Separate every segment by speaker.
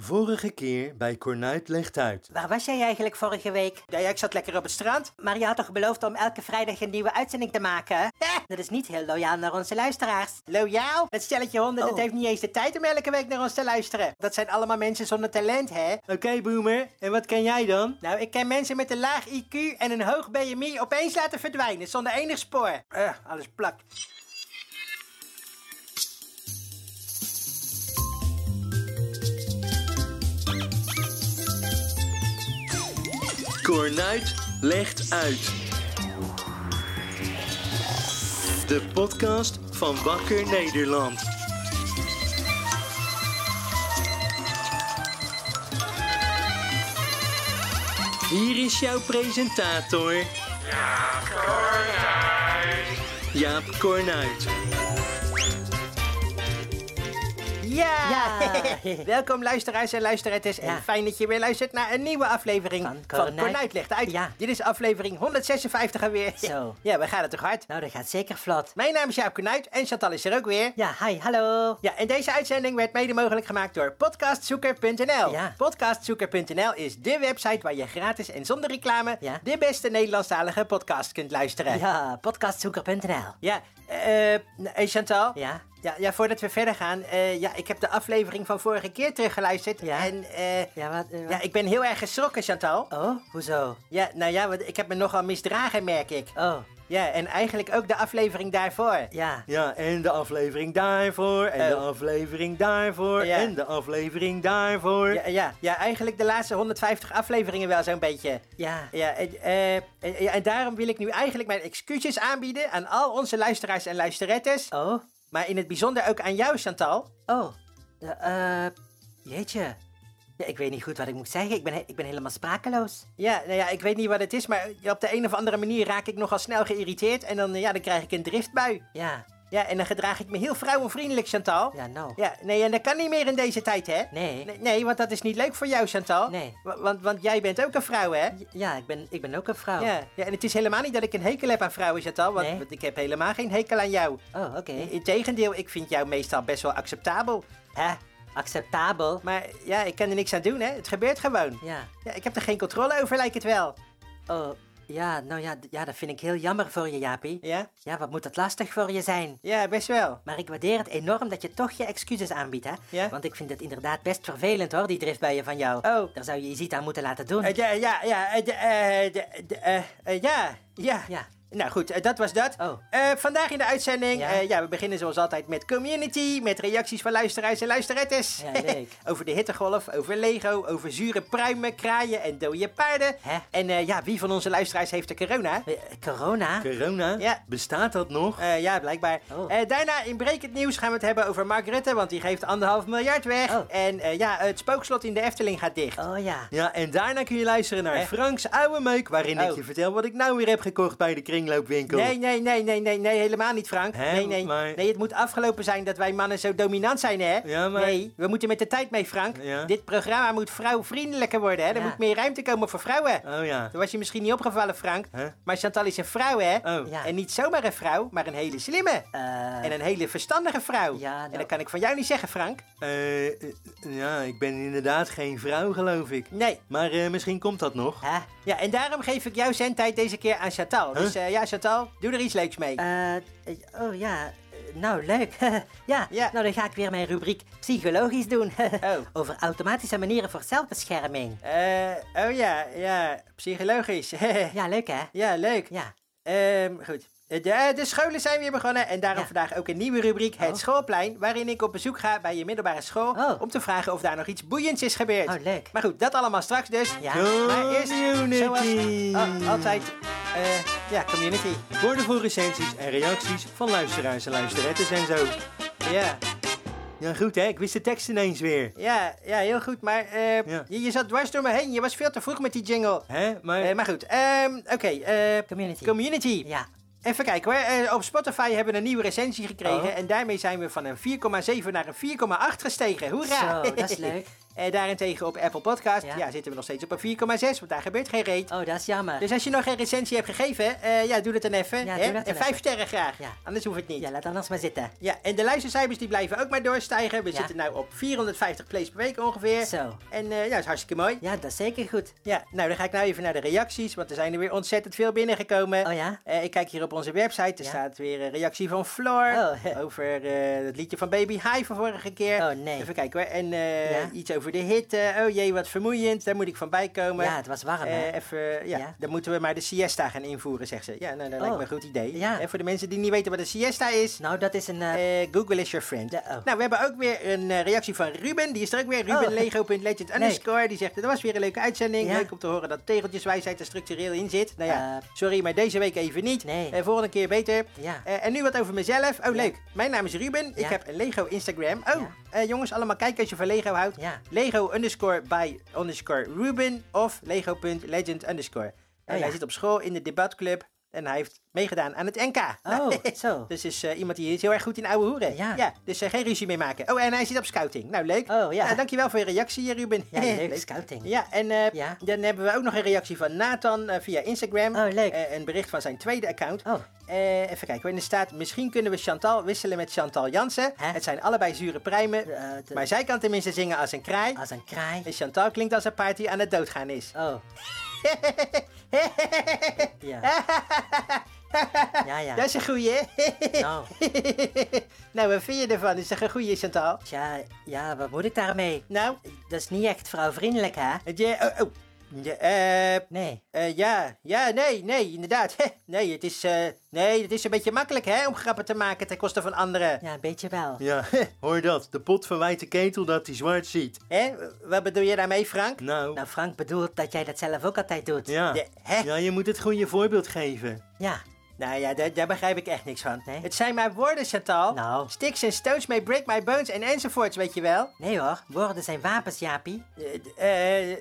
Speaker 1: Vorige keer bij Cornuit legt uit.
Speaker 2: Waar was jij eigenlijk vorige week?
Speaker 3: Ja, ja, ik zat lekker op het strand.
Speaker 2: Maar je had toch beloofd om elke vrijdag een nieuwe uitzending te maken? hè?
Speaker 3: Eh,
Speaker 2: Dat is niet heel loyaal naar onze luisteraars.
Speaker 3: loyaal? Dat stelletje honden, dat
Speaker 2: Oh.
Speaker 3: heeft niet eens de tijd om elke week naar ons te luisteren. Dat zijn allemaal mensen zonder talent, hè? Oké, boomer. En wat kan jij dan? Nou, ik kan mensen met een laag IQ en een hoog BMI opeens laten verdwijnen, zonder enig spoor. Eh, alles plakt.
Speaker 1: Cornuit legt uit. De podcast van Wakker Nederland. Hier is jouw presentator. Jaap Cornuit. Jaap Cornuit.
Speaker 3: Ja!
Speaker 2: Ja.
Speaker 3: Welkom luisteraars en luisterettes.
Speaker 2: Ja.
Speaker 3: En fijn dat je weer luistert naar een nieuwe aflevering
Speaker 2: Van
Speaker 3: van
Speaker 2: Cornuit.
Speaker 3: Cornuit Legt Uit.
Speaker 2: Ja.
Speaker 3: Dit is aflevering 156 alweer.
Speaker 2: Zo.
Speaker 3: Ja, we gaan het toch hard?
Speaker 2: Nou, dat gaat zeker vlot.
Speaker 3: Mijn naam is Jaap Cornuit en Chantal is er ook weer.
Speaker 2: Ja, hi, hallo.
Speaker 3: Ja, en deze uitzending werd mede mogelijk gemaakt door podcastzoeker.nl.
Speaker 2: Ja.
Speaker 3: Podcastzoeker.nl is de website waar je gratis en zonder reclame
Speaker 2: Ja.
Speaker 3: de beste Nederlandstalige podcast kunt luisteren.
Speaker 2: Ja, podcastzoeker.nl.
Speaker 3: Ja, eh, eh, hey Chantal.
Speaker 2: Ja?
Speaker 3: Ja, ja, voordat we verder gaan, eh, ja, ik heb de aflevering van vorige keer teruggeluisterd.
Speaker 2: Ja?
Speaker 3: En eh, ja.
Speaker 2: Ja, wat? eh, wat?
Speaker 3: ik ben heel erg geschrokken, Chantal.
Speaker 2: Oh, hoezo?
Speaker 3: Ja, nou ja, want ik heb me nogal misdragen, merk ik.
Speaker 2: Oh,
Speaker 3: Ja, en eigenlijk ook de aflevering daarvoor.
Speaker 2: ja.
Speaker 1: Ja, en de aflevering daarvoor, en de
Speaker 3: Oh.
Speaker 1: aflevering daarvoor,
Speaker 3: Ja.
Speaker 1: en de aflevering daarvoor.
Speaker 3: Ja, ja, ja, eigenlijk de laatste 150 afleveringen wel zo'n beetje.
Speaker 2: Ja.
Speaker 3: Ja, en, eh, en- ja, en daarom wil ik nu eigenlijk mijn excuses aanbieden aan al onze luisteraars en luisterettes.
Speaker 2: Oh,
Speaker 3: Maar in het bijzonder ook aan jou, Chantal.
Speaker 2: oh. Eh, eh, jeetje. Ja, ik weet niet goed wat ik moet zeggen. Ik ben, he- ik ben helemaal sprakeloos.
Speaker 3: Ja, nou ja, ik weet niet wat het is, maar op de een of andere manier raak ik nogal snel geïrriteerd. En dan, eh, ja, dan krijg ik een driftbui.
Speaker 2: Ja,
Speaker 3: Ja, en dan gedraag ik me heel vrouwenvriendelijk, Chantal.
Speaker 2: ja, nou.
Speaker 3: Ja, nee, en dat kan niet meer in deze tijd, hè?
Speaker 2: Nee.
Speaker 3: Nee, nee, want dat is niet leuk voor jou, Chantal.
Speaker 2: Nee.
Speaker 3: Wa- Want, want jij bent ook een vrouw, hè?
Speaker 2: Ja, ik ben, ik ben ook een vrouw.
Speaker 3: Ja, ja, en het is helemaal niet dat ik een hekel heb aan vrouwen, Chantal, want,
Speaker 2: Nee.
Speaker 3: want ik heb helemaal geen hekel aan jou.
Speaker 2: Oh, oké.
Speaker 3: Integendeel, ik vind jou meestal best wel acceptabel.
Speaker 2: Hè? Acceptabel?
Speaker 3: Maar ja, ik kan er niks aan doen, hè? Het gebeurt gewoon.
Speaker 2: Ja.
Speaker 3: Ja, ik heb er geen controle over, lijkt het wel.
Speaker 2: Oh, ja, nou ja, d- ja, dat vind ik heel jammer voor je, Jaapie.
Speaker 3: Ja?
Speaker 2: Ja, wat moet dat lastig voor je zijn?
Speaker 3: Ja, best wel.
Speaker 2: Maar ik waardeer het enorm dat je toch je excuses aanbiedt, hè?
Speaker 3: Ja?
Speaker 2: Want ik vind het inderdaad best vervelend, hoor, die driftbuien van jou.
Speaker 3: Oh.
Speaker 2: Daar zou je iets aan moeten laten doen.
Speaker 3: Eh, ja, ja, ja, eh, de- eh, de- de- eh, eh, ja, ja.
Speaker 2: Ja.
Speaker 3: Nou goed, eh, dat was dat.
Speaker 2: Oh.
Speaker 3: Eh, vandaag in de uitzending,
Speaker 2: Ja.
Speaker 3: ja. ja, we beginnen zoals altijd met community, met reacties van luisteraars en luisterettes.
Speaker 2: Ja, leuk.
Speaker 3: over de hittegolf, over Lego, over zure pruimen, kraaien en dode paarden.
Speaker 2: Hè?
Speaker 3: En eh, ja, wie van onze luisteraars heeft de corona?
Speaker 2: Eh, Corona?
Speaker 1: Corona,
Speaker 3: Ja.
Speaker 1: bestaat dat nog?
Speaker 3: Eh, ja, blijkbaar.
Speaker 2: Oh.
Speaker 3: Eh, daarna in Breekend Nieuws gaan we het hebben over Mark Rutte, want die geeft anderhalf miljard weg.
Speaker 2: Oh.
Speaker 3: En eh, ja, het spookslot in de Efteling gaat dicht.
Speaker 2: Oh ja.
Speaker 1: Ja, en daarna kun je luisteren naar
Speaker 3: Eh?
Speaker 1: Franks oude meuk, waarin ik
Speaker 3: Oh.
Speaker 1: je vertel wat ik nou weer heb gekocht bij de kringloopwinkel.
Speaker 3: Nee, nee, nee, nee, nee, nee, helemaal niet, Frank.
Speaker 1: Hè,
Speaker 3: nee, nee.
Speaker 1: maar-
Speaker 3: Nee, het moet afgelopen zijn dat wij mannen zo dominant zijn, hè?
Speaker 1: Ja, maar-
Speaker 3: Nee, we moeten met de tijd mee, Frank.
Speaker 1: Ja.
Speaker 3: Dit programma moet vrouwvriendelijker worden, hè? Er
Speaker 2: Ja.
Speaker 3: moet meer ruimte komen voor vrouwen.
Speaker 1: Oh ja.
Speaker 3: Dat was je misschien niet opgevallen, Frank.
Speaker 1: Hè?
Speaker 3: Maar Chantal is een vrouw, hè?
Speaker 1: Oh.
Speaker 2: Ja.
Speaker 3: En niet zomaar een vrouw, maar een hele slimme.
Speaker 2: Eh,
Speaker 3: En een hele verstandige vrouw.
Speaker 2: Ja,
Speaker 3: En
Speaker 2: nou-
Speaker 3: dat kan ik van jou niet zeggen, Frank.
Speaker 1: Eh, eh, ja, ik ben inderdaad geen vrouw, geloof ik.
Speaker 3: Nee.
Speaker 1: Maar eh, misschien komt dat nog.
Speaker 2: hè?
Speaker 3: Ja, en daarom geef ik jouw zendtijd deze keer aan Chantal. Dus eh, ja, Chantal, doe er iets leuks mee.
Speaker 2: Eh, eh, oh ja, eh, nou leuk. ja,
Speaker 3: Ja.
Speaker 2: nou dan ga ik weer mijn rubriek psychologisch doen.
Speaker 3: Oh.
Speaker 2: Over automatische manieren voor zelfbescherming.
Speaker 3: Eh, oh ja, ja, psychologisch.
Speaker 2: Ja, leuk hè?
Speaker 3: ja, leuk.
Speaker 2: Ja.
Speaker 3: Ehm, goed. De, de scholen zijn weer begonnen en daarom
Speaker 2: Ja.
Speaker 3: vandaag ook een nieuwe rubriek,
Speaker 2: Oh.
Speaker 3: Het Schoolplein, waarin ik op bezoek ga bij je middelbare school
Speaker 2: Oh.
Speaker 3: om te vragen of daar nog iets boeiends is gebeurd.
Speaker 2: Oh, leuk.
Speaker 3: Maar goed, dat allemaal straks dus.
Speaker 2: Ja.
Speaker 3: Maar eerst, zoals
Speaker 1: Community.
Speaker 3: oh, altijd, eh, ja, community.
Speaker 1: Worden voor recensies en reacties van luisteraars en luisterettes en zo.
Speaker 3: Ja,
Speaker 1: Ja, goed hè, ik wist de tekst ineens weer.
Speaker 3: ja, ja heel goed, maar eh,
Speaker 1: Ja.
Speaker 3: je, je zat dwars door me heen, je was veel te vroeg met die jingle.
Speaker 1: Hè, maar...
Speaker 3: Eh, maar goed, ehm, oké, eh,
Speaker 2: Community.
Speaker 3: community.
Speaker 2: Ja.
Speaker 3: Even kijken hoor. Eh, op Spotify hebben we een nieuwe recensie gekregen.
Speaker 2: Oh.
Speaker 3: En daarmee zijn we van een 4,7 naar een 4,8 gestegen. Hoera!
Speaker 2: Zo, dat is leuk.
Speaker 3: Eh, daarentegen op Apple Podcast ja.
Speaker 2: Ja.
Speaker 3: zitten we nog steeds op een 4,6, want daar gebeurt geen reet.
Speaker 2: Oh, dat is jammer.
Speaker 3: Dus als je nog geen recensie hebt gegeven, eh, ja, doe dat dan even.
Speaker 2: Ja,
Speaker 3: hè?
Speaker 2: doe dat
Speaker 3: en
Speaker 2: dan
Speaker 3: vijf
Speaker 2: even.
Speaker 3: sterren graag,
Speaker 2: Ja.
Speaker 3: anders hoeft het niet.
Speaker 2: Ja, laat anders maar zitten.
Speaker 3: Ja, en de luistercijfers die blijven ook maar doorstijgen. We
Speaker 2: Ja.
Speaker 3: zitten nu op 450 plays per week ongeveer.
Speaker 2: Zo.
Speaker 3: En eh, ja, dat is hartstikke mooi.
Speaker 2: Ja, dat is zeker goed.
Speaker 3: Ja, nou dan ga ik nou even naar de reacties, want er zijn er weer ontzettend veel binnengekomen.
Speaker 2: Oh ja?
Speaker 3: Eh, ik kijk hier op onze website, er
Speaker 2: Ja.
Speaker 3: staat weer een reactie van Floor
Speaker 2: Oh, hè.
Speaker 3: over eh, het liedje van Baby High van vorige keer.
Speaker 2: Oh, nee.
Speaker 3: eh. Even kijken hoor. En eh,
Speaker 2: Ja.
Speaker 3: iets over de hitte. Oh jee, wat vermoeiend, daar moet ik van bijkomen.
Speaker 2: Ja, het was warm, hè?
Speaker 3: Eh, even, ja,
Speaker 2: Ja.
Speaker 3: dan moeten we maar de siesta gaan invoeren, zegt ze. Ja, nou, dat lijkt
Speaker 2: Oh.
Speaker 3: me een goed idee.
Speaker 2: Ja.
Speaker 3: Eh, voor de mensen die niet weten wat een siesta is,
Speaker 2: Nou, dat is een... eh,
Speaker 3: eh, Google is your friend.
Speaker 2: Ja, oh.
Speaker 3: Nou, we hebben ook weer een eh, reactie van Ruben. Die is er ook weer. Ruben
Speaker 2: Oh.
Speaker 3: Lego.legend underscore. Die zegt, dat was weer een leuke uitzending.
Speaker 2: Ja.
Speaker 3: Leuk om te horen dat tegeltjeswijsheid er structureel in zit. Nou ja,
Speaker 2: Eh.
Speaker 3: sorry, maar deze week even niet.
Speaker 2: Nee.
Speaker 3: Eh, volgende keer beter.
Speaker 2: Ja.
Speaker 3: Eh, en nu wat over mezelf. Oh, leuk. Mijn naam is Ruben. Ik
Speaker 2: Ja.
Speaker 3: heb een Lego Instagram. Oh, eh, jongens, allemaal kijken als je van Lego houdt.
Speaker 2: Ja.
Speaker 3: Lego underscore by underscore Ruben of Lego.legend underscore. En
Speaker 2: Oh, ja.
Speaker 3: hij zit op school in de debatclub. En hij heeft meegedaan aan het NK.
Speaker 2: Oh, zo.
Speaker 3: Dus is eh, iemand die is heel erg goed in oude hoeren.
Speaker 2: Ja.
Speaker 3: dus eh, geen ruzie mee maken. Oh, en hij zit op scouting. Nou, leuk.
Speaker 2: Oh, ja.
Speaker 3: Nou, dankjewel voor je reactie, Ruben.
Speaker 2: Ja, leuk, scouting.
Speaker 3: Ja, en eh,
Speaker 2: Ja.
Speaker 3: dan hebben we ook nog een reactie van Nathan eh, via Instagram.
Speaker 2: Oh, leuk.
Speaker 3: Eh, een bericht van zijn tweede account.
Speaker 2: Oh.
Speaker 3: Eh, even kijken, hoor. en er staat... Misschien kunnen we Chantal wisselen met Chantal Jansen.
Speaker 2: Hè?
Speaker 3: Het zijn allebei zure pruimen.
Speaker 2: Eh, de-
Speaker 3: Maar zij kan tenminste zingen als een kraai.
Speaker 2: Als een kraai.
Speaker 3: En Chantal klinkt als een paard die aan het doodgaan is.
Speaker 2: Oh. ja. ja, ja.
Speaker 3: Dat is een goeie, hè?
Speaker 2: Nou,
Speaker 3: nou, wat vind je ervan? Is dat een goeie, Chantal?
Speaker 2: tja, ja, wat moet ik daarmee?
Speaker 3: Nou,
Speaker 2: Dat is niet echt vrouwvriendelijk, hè?
Speaker 3: Het, eh, oh, oh. Ja, eh,
Speaker 2: Nee.
Speaker 3: eh, ja, ja, nee, nee, inderdaad. Nee, het is, eh, nee, het is een beetje makkelijk hè, om grappen te maken ten koste van anderen.
Speaker 2: Ja, een beetje wel.
Speaker 1: Ja, hoor je dat? De pot verwijt de ketel dat hij zwart ziet.
Speaker 3: Hè? Wat bedoel je daarmee, Frank?
Speaker 1: Nou,
Speaker 2: Nou, Frank bedoelt dat jij dat zelf ook altijd doet.
Speaker 1: ja.
Speaker 3: De- hè?
Speaker 1: Ja, je moet het goede voorbeeld geven.
Speaker 2: Ja.
Speaker 3: Nou ja, daar, daar begrijp ik echt niks van.
Speaker 2: Nee?
Speaker 3: Het zijn maar woorden, Chantal.
Speaker 2: Nou.
Speaker 3: Sticks and stones may break my bones en enzovoorts, weet je wel.
Speaker 2: Nee hoor, woorden zijn wapens, Jaapie.
Speaker 3: Eh, d- eh,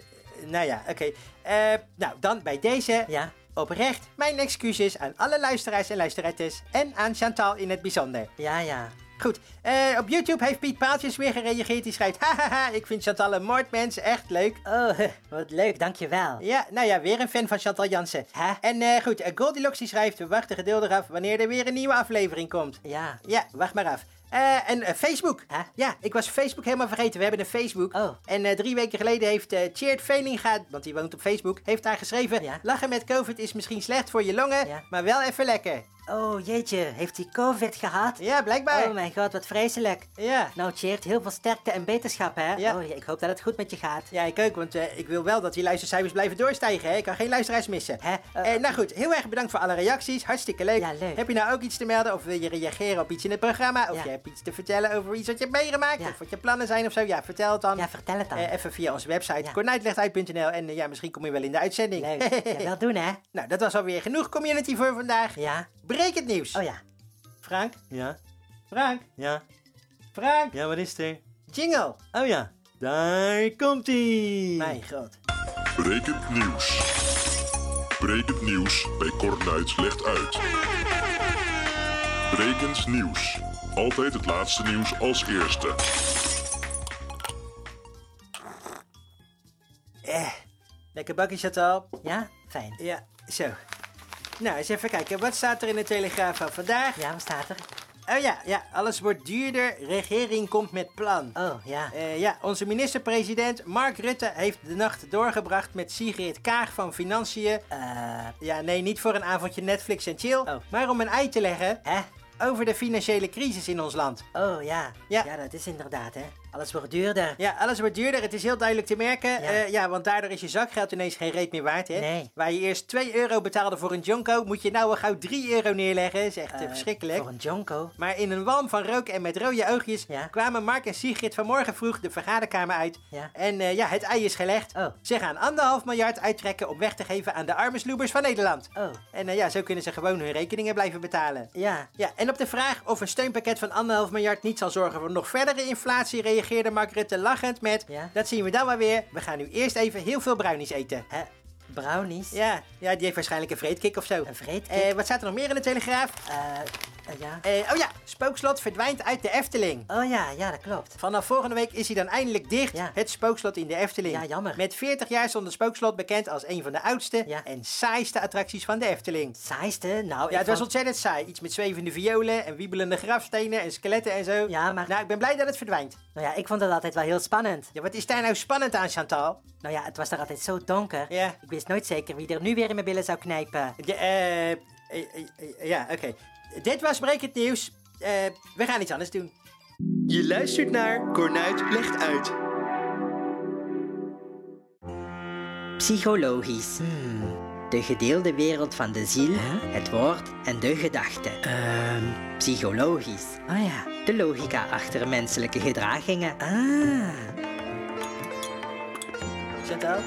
Speaker 3: nou ja, oké. Eh, nou, dan bij deze.
Speaker 2: Ja.
Speaker 3: Oprecht, mijn excuses aan alle luisteraars en luisterettes en aan Chantal in het bijzonder.
Speaker 2: Ja, ja.
Speaker 3: Goed, eh, op YouTube heeft Piet Paaltjes weer gereageerd. Die schrijft, hahaha, ik vind Chantal een moordmens, echt leuk.
Speaker 2: Oh, wat leuk, dankjewel.
Speaker 3: Ja, nou ja, weer een fan van Chantal Jansen.
Speaker 2: Hè?
Speaker 3: En eh, goed, eh, Goldilocks die schrijft, we wachten geduldig af wanneer er weer een nieuwe aflevering komt.
Speaker 2: Ja.
Speaker 3: Ja, wacht maar af. Eh, en eh, Facebook.
Speaker 2: Hè?
Speaker 3: Ja, ik was Facebook helemaal vergeten. We hebben een Facebook.
Speaker 2: Oh.
Speaker 3: En eh, drie weken geleden heeft eh Cheert Velinga, want die woont op Facebook, heeft daar geschreven...
Speaker 2: Ja.
Speaker 3: Lachen met COVID is misschien slecht voor je longen,
Speaker 2: Ja.
Speaker 3: maar wel even lekker.
Speaker 2: Oh, jeetje, heeft hij COVID gehad?
Speaker 3: Ja, blijkbaar.
Speaker 2: Oh mijn god, wat vreselijk.
Speaker 3: Ja.
Speaker 2: Nou, Cheert, heel veel sterkte en beterschap, hè?
Speaker 3: Ja.
Speaker 2: Oh, ik hoop dat het goed met je gaat.
Speaker 3: Ja, ik ook, want eh, ik wil wel dat die luistercijfers blijven doorstijgen. Hè? Ik kan geen luisteraars missen.
Speaker 2: Hè?
Speaker 3: Eh, nou goed, heel erg bedankt voor alle reacties. Hartstikke leuk.
Speaker 2: Ja, leuk.
Speaker 3: Heb je nou ook iets te melden of wil je reageren op iets in het programma? Of
Speaker 2: Ja.
Speaker 3: je hebt iets te vertellen over iets wat je hebt meegemaakt?
Speaker 2: Ja.
Speaker 3: Of wat je plannen zijn of zo? Ja, vertel het dan.
Speaker 2: Ja, vertel het dan.
Speaker 3: Eh, even via onze website
Speaker 2: Ja.
Speaker 3: kornuitlegduit.nl en eh, ja, misschien kom je wel in de uitzending.
Speaker 2: Leuk. ja, wel doen, hè?
Speaker 3: nou, dat was alweer genoeg community voor vandaag.
Speaker 2: Ja.
Speaker 3: Breek het nieuws.
Speaker 2: Oh ja.
Speaker 3: Frank,
Speaker 1: Ja,
Speaker 3: Frank,
Speaker 1: ja,
Speaker 3: Frank.
Speaker 1: ja, wat is er?
Speaker 3: Jingle.
Speaker 1: Oh ja, daar komt ie.
Speaker 3: Mijn god.
Speaker 4: Brekend nieuws. Brekend nieuws bij Kornuit legt uit. Brekend nieuws. Altijd het laatste nieuws als eerste.
Speaker 3: Eh, Lekker bakkie, Chantal.
Speaker 2: Ja? Fijn.
Speaker 3: Ja, zo. Nou, eens even kijken. Wat staat er in de Telegraaf van vandaag?
Speaker 2: Ja, wat staat er?
Speaker 3: Oh ja, ja, alles wordt duurder. Regering komt met plan.
Speaker 2: Oh, ja.
Speaker 3: Eh, ja, onze minister-president Mark Rutte heeft de nacht doorgebracht met Sigrid Kaag van Financiën.
Speaker 2: Eh,
Speaker 3: Ja, nee, niet voor een avondje Netflix en chill,
Speaker 2: Oh.
Speaker 3: maar om een ei te leggen
Speaker 2: hè?
Speaker 3: over de financiële crisis in ons land.
Speaker 2: Oh, ja.
Speaker 3: Ja.
Speaker 2: dat is inderdaad, hè? Alles wordt duurder.
Speaker 3: Ja, alles wordt duurder. Het is heel duidelijk te merken. Ja,
Speaker 2: Ja.
Speaker 3: ja want daardoor is je zakgeld ineens geen reet meer waard, hè?
Speaker 2: Nee.
Speaker 3: Waar je eerst 2 euro betaalde voor een jonko, moet je nou al gauw 3 euro neerleggen. is echt eh,
Speaker 2: Eh,
Speaker 3: verschrikkelijk.
Speaker 2: Voor een jonko.
Speaker 3: Maar in een walm van rook en met rode oogjes
Speaker 2: Ja.
Speaker 3: kwamen Mark en Sigrid vanmorgen vroeg de vergaderkamer uit.
Speaker 2: Ja.
Speaker 3: En eh, ja, het ei is gelegd.
Speaker 2: Oh.
Speaker 3: Ze gaan anderhalf miljard uittrekken om weg te geven aan de arme sloebers van Nederland.
Speaker 2: Oh.
Speaker 3: En eh, ja, zo kunnen ze gewoon hun rekeningen blijven betalen.
Speaker 2: Ja.
Speaker 3: Ja, en op de vraag of een steunpakket van anderhalf miljard niet zal zorgen voor nog verdere inflatie, reageerde Mark Rutte lachend met:
Speaker 2: Ja.
Speaker 3: Dat zien we dan wel weer. We gaan nu eerst even heel veel brownies eten.
Speaker 2: Hè? Brownies?
Speaker 3: Ja, ja die heeft waarschijnlijk een vreedkick of zo.
Speaker 2: Een vreedkick?
Speaker 3: Eh, wat staat er nog meer in de Telegraaf?
Speaker 2: Eh, Eh, ja.
Speaker 3: Eh, oh ja, Spookslot verdwijnt uit de Efteling.
Speaker 2: Oh ja, ja, dat klopt.
Speaker 3: Vanaf volgende week is hij dan eindelijk dicht.
Speaker 2: Ja.
Speaker 3: Het Spookslot in de Efteling.
Speaker 2: Ja, jammer.
Speaker 3: Met 40 jaar stond het Spookslot bekend als een van de oudste
Speaker 2: Ja.
Speaker 3: en saaiste attracties van de Efteling.
Speaker 2: Saaiste? Nou, ik
Speaker 3: Ja, het was
Speaker 2: vond-
Speaker 3: ontzettend saai. Iets met zwevende violen en wiebelende grafstenen en skeletten en zo.
Speaker 2: Ja, maar-
Speaker 3: Nou, ik ben blij dat het verdwijnt.
Speaker 2: Nou ja, ik vond het altijd wel heel spannend.
Speaker 3: Ja, wat is daar nou spannend aan, Chantal?
Speaker 2: Nou ja, het was daar altijd zo donker.
Speaker 3: Ja.
Speaker 2: Ik wist nooit zeker wie er nu weer in mijn billen zou knijpen.
Speaker 3: Ja, eh, eh, eh, eh, ja oké. Dit was Brekend Nieuws. Eh, we gaan iets anders doen.
Speaker 1: Je luistert naar Cornuit legt uit.
Speaker 5: Psychologisch. Hmm. De gedeelde wereld van de ziel, het woord en de gedachte.
Speaker 1: Ehm.
Speaker 5: Psychologisch.
Speaker 2: Oh ja.
Speaker 5: De logica achter menselijke gedragingen.
Speaker 2: Ah.
Speaker 3: Chantal?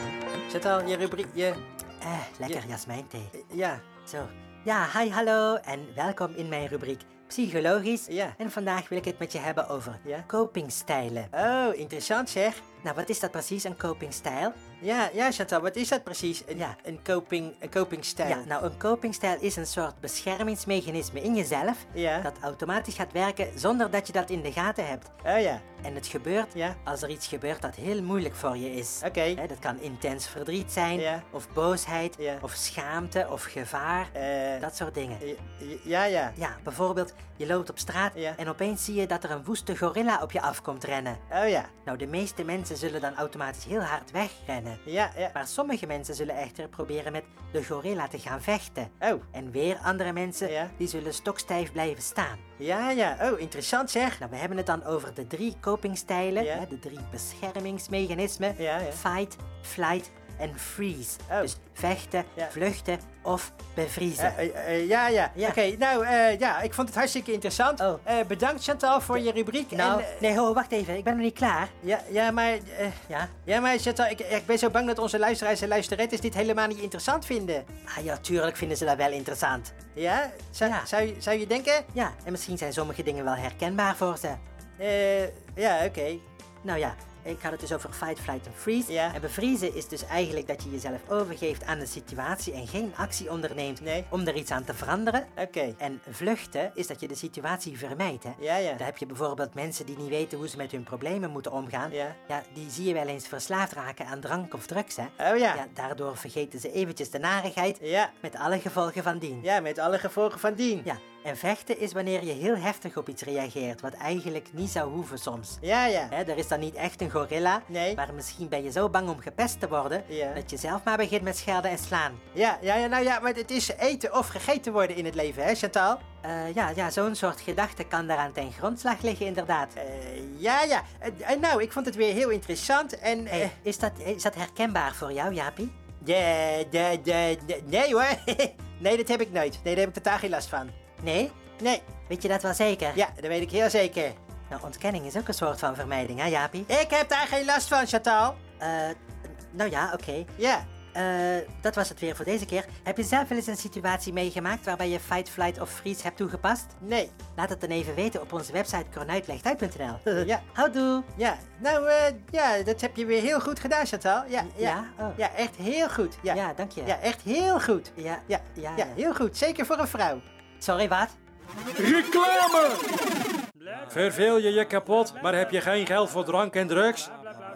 Speaker 3: Chantal, je rubriek... Je...
Speaker 2: Eh, lekker
Speaker 3: Ja.
Speaker 2: jasmijnthee.
Speaker 3: Ja.
Speaker 2: Zo. Ja, hi, hallo en welkom in mijn rubriek Psychologisch.
Speaker 3: Ja.
Speaker 2: En vandaag wil ik het met je hebben over
Speaker 3: Ja.
Speaker 2: copingstijlen.
Speaker 3: Oh, interessant zeg.
Speaker 2: Nou, wat is dat precies, een copingstijl?
Speaker 3: Ja, ja, Chantal, wat is dat precies? Een,
Speaker 2: Ja.
Speaker 3: een coping, een copingstijl.
Speaker 2: Ja, nou, een copingstijl is een soort beschermingsmechanisme in jezelf...
Speaker 3: Ja.
Speaker 2: dat automatisch gaat werken zonder dat je dat in de gaten hebt.
Speaker 3: Oh ja,
Speaker 2: En het gebeurt
Speaker 3: Ja.
Speaker 2: als er iets gebeurt dat heel moeilijk voor je is.
Speaker 3: Oké.
Speaker 2: Hè, dat kan intens verdriet zijn,
Speaker 3: Ja.
Speaker 2: of boosheid,
Speaker 3: Ja.
Speaker 2: of schaamte, of gevaar.
Speaker 3: Eh.
Speaker 2: dat soort dingen.
Speaker 3: Eh, ja, ja.
Speaker 2: Ja, bijvoorbeeld, je loopt op straat
Speaker 3: Ja.
Speaker 2: en opeens zie je dat er een woeste gorilla op je afkomt rennen.
Speaker 3: Oh ja,
Speaker 2: Nou, de meeste mensen zullen dan automatisch heel hard wegrennen.
Speaker 3: ja, ja.
Speaker 2: Maar sommige mensen zullen echter proberen met de gorilla te gaan vechten.
Speaker 3: Oh,
Speaker 2: En weer andere mensen
Speaker 3: Ja.
Speaker 2: die zullen stokstijf blijven staan.
Speaker 3: ja, ja. Oh, interessant zeg.
Speaker 2: Nou, we hebben het dan over de drie copingstijlen,
Speaker 3: Ja.
Speaker 2: hè, de drie beschermingsmechanismen:
Speaker 3: Ja, ja.
Speaker 2: fight, flight en freeze.
Speaker 3: Oh.
Speaker 2: Dus vechten,
Speaker 3: Ja.
Speaker 2: vluchten of bevriezen.
Speaker 3: Eh, eh, eh, ja, ja.
Speaker 2: Ja.
Speaker 3: Oké, nou eh, ja, ik vond het hartstikke interessant.
Speaker 2: Oh.
Speaker 3: Eh, bedankt Chantal voor je rubriek.
Speaker 2: nou,
Speaker 3: en, eh,
Speaker 2: nee, ho, wacht even, ik ben nog niet klaar.
Speaker 3: ja, ja, maar, eh,
Speaker 2: Ja?
Speaker 3: ja, maar Chantal, ik, ik ben zo bang dat onze luisteraars en luisterettes dit helemaal niet interessant vinden.
Speaker 2: Ah ja, tuurlijk vinden ze dat wel interessant.
Speaker 3: Ja? Zou,
Speaker 2: Ja.
Speaker 3: Zou, je- zou je denken?
Speaker 2: Ja, en misschien zijn sommige dingen wel herkenbaar voor ze.
Speaker 3: Eh, ja, oké.
Speaker 2: Nou ja, ik had het dus over fight, flight en freeze.
Speaker 3: Ja.
Speaker 2: En bevriezen is dus eigenlijk dat je jezelf overgeeft aan de situatie en geen actie onderneemt
Speaker 3: Nee.
Speaker 2: om er iets aan te veranderen.
Speaker 3: Oké.
Speaker 2: En vluchten is dat je de situatie vermijdt. Hè?
Speaker 3: Ja, ja.
Speaker 2: Daar heb je bijvoorbeeld mensen die niet weten hoe ze met hun problemen moeten omgaan.
Speaker 3: Ja.
Speaker 2: die zie je wel eens verslaafd raken aan drank of drugs. Hè?
Speaker 3: Oh ja.
Speaker 2: Ja, daardoor vergeten ze eventjes de narigheid
Speaker 3: Ja.
Speaker 2: met alle gevolgen van dien.
Speaker 3: Ja, met alle gevolgen van dien.
Speaker 2: Ja, En vechten is wanneer je heel heftig op iets reageert, wat eigenlijk niet zou hoeven soms.
Speaker 3: Ja, ja.
Speaker 2: Hè, er is dan niet echt een gorilla,
Speaker 3: Nee.
Speaker 2: maar misschien ben je zo bang om gepest te worden
Speaker 3: Ja.
Speaker 2: dat je zelf maar begint met schelden en slaan.
Speaker 3: Ja, ja, ja, nou ja, maar het is eten of gegeten worden in het leven, hè, Chantal?
Speaker 2: Eh, ja, ja zo'n soort gedachte kan daaraan ten grondslag liggen, inderdaad.
Speaker 3: Eh, ja, ja. Eh, eh, nou, ik vond het weer heel interessant en... eh,
Speaker 2: Hey, is, dat, is dat herkenbaar voor jou, Jaapie?
Speaker 3: de, de, de, de- nee hoor. nee, dat heb ik nooit. Nee, daar heb ik totaal geen last van.
Speaker 2: Nee?
Speaker 3: Nee,
Speaker 2: Weet je dat wel zeker?
Speaker 3: ja, dat weet ik heel zeker.
Speaker 2: Nou, ontkenning is ook een soort van vermijding, hè, Jaapie?
Speaker 3: Ik heb daar geen last van, Chantal.
Speaker 2: Eh, nou ja, oké.
Speaker 3: Ja.
Speaker 2: Eh, dat was het weer voor deze keer. Heb je zelf wel eens een situatie meegemaakt waarbij je fight, flight of freeze hebt toegepast?
Speaker 3: Nee.
Speaker 2: Laat het dan even weten op onze website cornuitlegtuit.nl.
Speaker 3: Ja.
Speaker 2: Houdoe!
Speaker 3: Ja, nou, eh, ja, dat heb je weer heel goed gedaan, Chantal. Ja, ja.
Speaker 2: Ja? Oh.
Speaker 3: ja echt heel goed. Ja.
Speaker 2: Ja, dank je.
Speaker 3: Ja, echt heel goed.
Speaker 2: Ja,
Speaker 3: Ja, ja,
Speaker 2: ja, ja.
Speaker 3: heel goed. Zeker voor een vrouw.
Speaker 2: Sorry, wat?
Speaker 1: Reclame! Verveel je je kapot, maar heb je geen geld voor drank en drugs?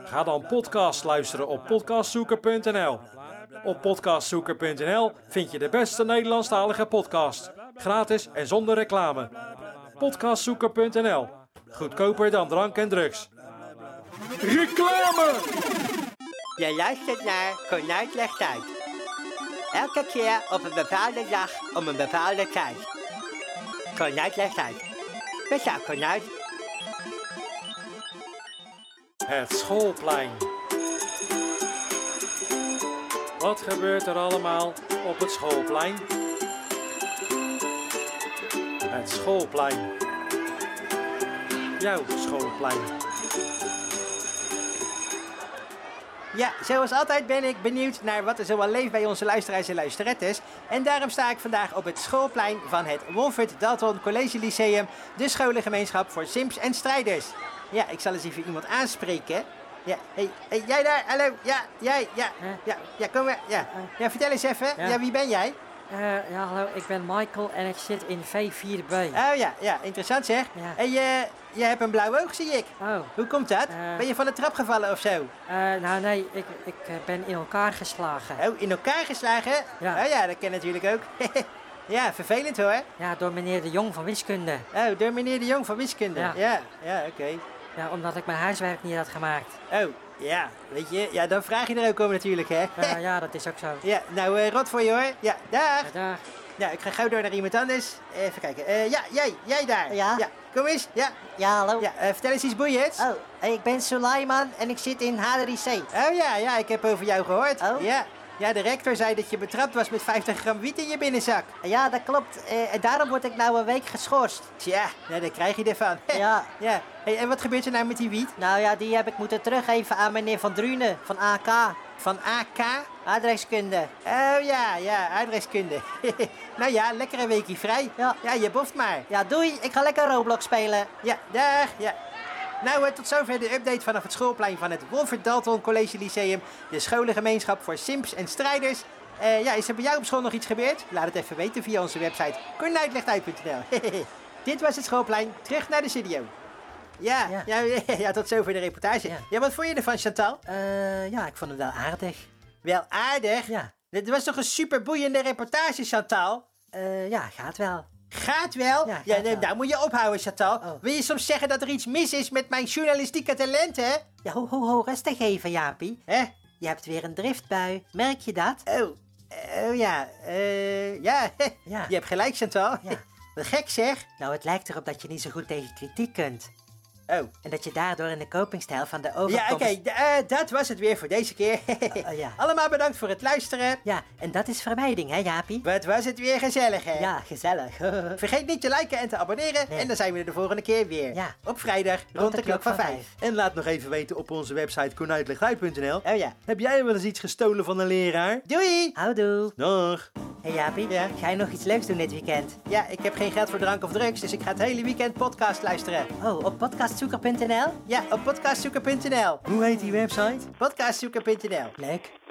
Speaker 1: Ga dan podcast luisteren op podcastzoeker.nl. Op podcastzoeker.nl vind je de beste Nederlandstalige podcast. Gratis en zonder reclame. Podcastzoeker.nl. Goedkoper dan drank en drugs. Reclame!
Speaker 3: Je luistert naar Cornuit legt uit. Elke keer op een bepaalde dag om een bepaalde tijd. Cornuit legt uit. Met jou, Cornuit.
Speaker 1: Het schoolplein. Wat gebeurt er allemaal op het schoolplein? Het schoolplein. Jouw schoolplein.
Speaker 3: Ja, zoals altijd ben ik benieuwd naar wat er zoal leeft bij onze luisteraars en luisterettes. En daarom sta ik vandaag op het schoolplein van het Wolfert Dalton College Lyceum, de scholengemeenschap voor Sims en Strijders. Ja, ik zal eens even iemand aanspreken. Ja, hey, hey, jij daar, hallo, ja, jij, ja, ja, ja, kom maar, ja. Ja, vertel eens even, ja, wie ben jij?
Speaker 2: Eh, Eh, ja, hallo, ik ben Michael en ik zit in V4B.
Speaker 3: Oh ja, ja, interessant zeg.
Speaker 2: Ja.
Speaker 3: En je, je hebt een blauw oog, zie ik.
Speaker 2: Oh,
Speaker 3: Hoe komt dat?
Speaker 2: Eh.
Speaker 3: Ben je van de trap gevallen of zo?
Speaker 2: eh, nou nee, ik, ik eh, ben in elkaar geslagen.
Speaker 3: Oh, in elkaar geslagen?
Speaker 2: Ja.
Speaker 3: Oh ja, dat ken natuurlijk ook. ja, vervelend hoor.
Speaker 2: Ja, door meneer de Jong van Wiskunde.
Speaker 3: Oh, door meneer de Jong van Wiskunde.
Speaker 2: Ja.
Speaker 3: ja, ja, oké.
Speaker 2: Ja, omdat ik mijn huiswerk niet had gemaakt.
Speaker 3: Oh, ja, weet je, ja, dan vraag je er ook om natuurlijk, hè?
Speaker 2: Eh, ja, dat is ook zo.
Speaker 3: ja, nou, eh, rot voor je hoor. Ja, dag.
Speaker 2: Eh, dag.
Speaker 3: Nou, ik ga gauw door naar iemand anders. Even kijken. Eh, ja, jij, jij daar.
Speaker 6: Ja?
Speaker 3: Kom eens. Ja,
Speaker 6: Ja, hallo.
Speaker 3: ja eh, vertel eens iets boeiends.
Speaker 6: Oh, ik ben Sulaiman en ik zit in H3C.
Speaker 2: Eh.
Speaker 3: Oh ja, ja, ik heb over jou gehoord.
Speaker 6: Oh?
Speaker 3: Ja. ja, de rector zei dat je betrapt was met 50 gram wiet in je binnenzak.
Speaker 6: Ja, dat klopt. Eh, en daarom word ik nou een week geschorst.
Speaker 3: Tja, nou, daar krijg je ervan.
Speaker 6: Ja.
Speaker 3: ja. Hey, en wat gebeurt er nou met die wiet?
Speaker 6: Nou ja, die heb ik moeten teruggeven aan meneer Van Drunen van AK.
Speaker 3: Van AK?
Speaker 6: Aardrijkskunde.
Speaker 3: Oh ja, ja, aardrijkskunde. nou ja, lekkere weekje vrij.
Speaker 6: Ja.
Speaker 3: je boft maar.
Speaker 6: Ja, doei. Ik ga lekker Roblox spelen.
Speaker 3: Ja, dag. Ja. Nou, eh, tot zover de update vanaf het schoolplein van het Wolfert Dalton College Lyceum. De scholengemeenschap voor simps en strijders. Eh, ja, is er bij jou op school nog iets gebeurd? Laat het even weten via onze website kornuitlegt uit.nl. Dit was het schoolplein. Terug naar de studio. Ja, ja.
Speaker 2: Ja.
Speaker 3: Ja, tot zover de reportage. Ja.
Speaker 2: Ja.
Speaker 3: wat vond je ervan, Chantal?
Speaker 2: Eh, ja, ik vond hem wel aardig.
Speaker 3: Wel aardig.
Speaker 2: Ja,
Speaker 3: Dit was toch een superboeiende reportage, Chantal?
Speaker 2: eh, ja, gaat wel.
Speaker 3: Gaat wel? Ja,
Speaker 2: Ja, gaat
Speaker 3: nee,
Speaker 2: wel.
Speaker 3: nou moet je ophouden, Chantal.
Speaker 2: Oh.
Speaker 3: Wil je soms zeggen dat er iets mis is met mijn journalistieke talenten?
Speaker 2: Ja, ho, ho, ho, rustig even, Jaapie.
Speaker 3: Hè?
Speaker 2: Je hebt weer een driftbui, merk je dat?
Speaker 3: Oh, oh ja, eh, ja.
Speaker 2: Ja.
Speaker 3: Je hebt gelijk, Chantal.
Speaker 2: Ja.
Speaker 3: Wat gek zeg.
Speaker 2: Nou, het lijkt erop dat je niet zo goed tegen kritiek kunt.
Speaker 3: Oh.
Speaker 2: En dat je daardoor in de copingstijl van de overkomst...
Speaker 3: Ja, oké, d- eh, dat was het weer voor deze keer.
Speaker 2: oh, ja.
Speaker 3: Allemaal bedankt voor het luisteren.
Speaker 2: Ja, en dat is vermijding, hè, Jaapie?
Speaker 3: Wat was het weer gezellig, hè?
Speaker 2: Ja, gezellig.
Speaker 3: Vergeet niet te liken en te abonneren.
Speaker 2: Nee.
Speaker 3: En dan zijn we er de volgende keer weer.
Speaker 2: Ja.
Speaker 3: Op vrijdag rond, de, klok van vijf.
Speaker 7: En laat nog even weten op onze website konuitlegduit.nl.
Speaker 3: Oh ja.
Speaker 7: Heb jij wel eens iets gestolen van een leraar?
Speaker 3: Doei!
Speaker 2: Houdoe.
Speaker 7: Dag.
Speaker 2: Hé, hey, Jaapie,
Speaker 3: Ja?
Speaker 2: ga je nog iets leuks doen dit weekend?
Speaker 3: Ja, ik heb geen geld voor drank of drugs, dus ik ga het hele weekend podcast luisteren.
Speaker 2: Oh, op podcastzoeker.nl?
Speaker 3: Ja, op podcastzoeker.nl.
Speaker 7: Hoe heet die website?
Speaker 3: Podcastzoeker.nl.
Speaker 2: Leuk.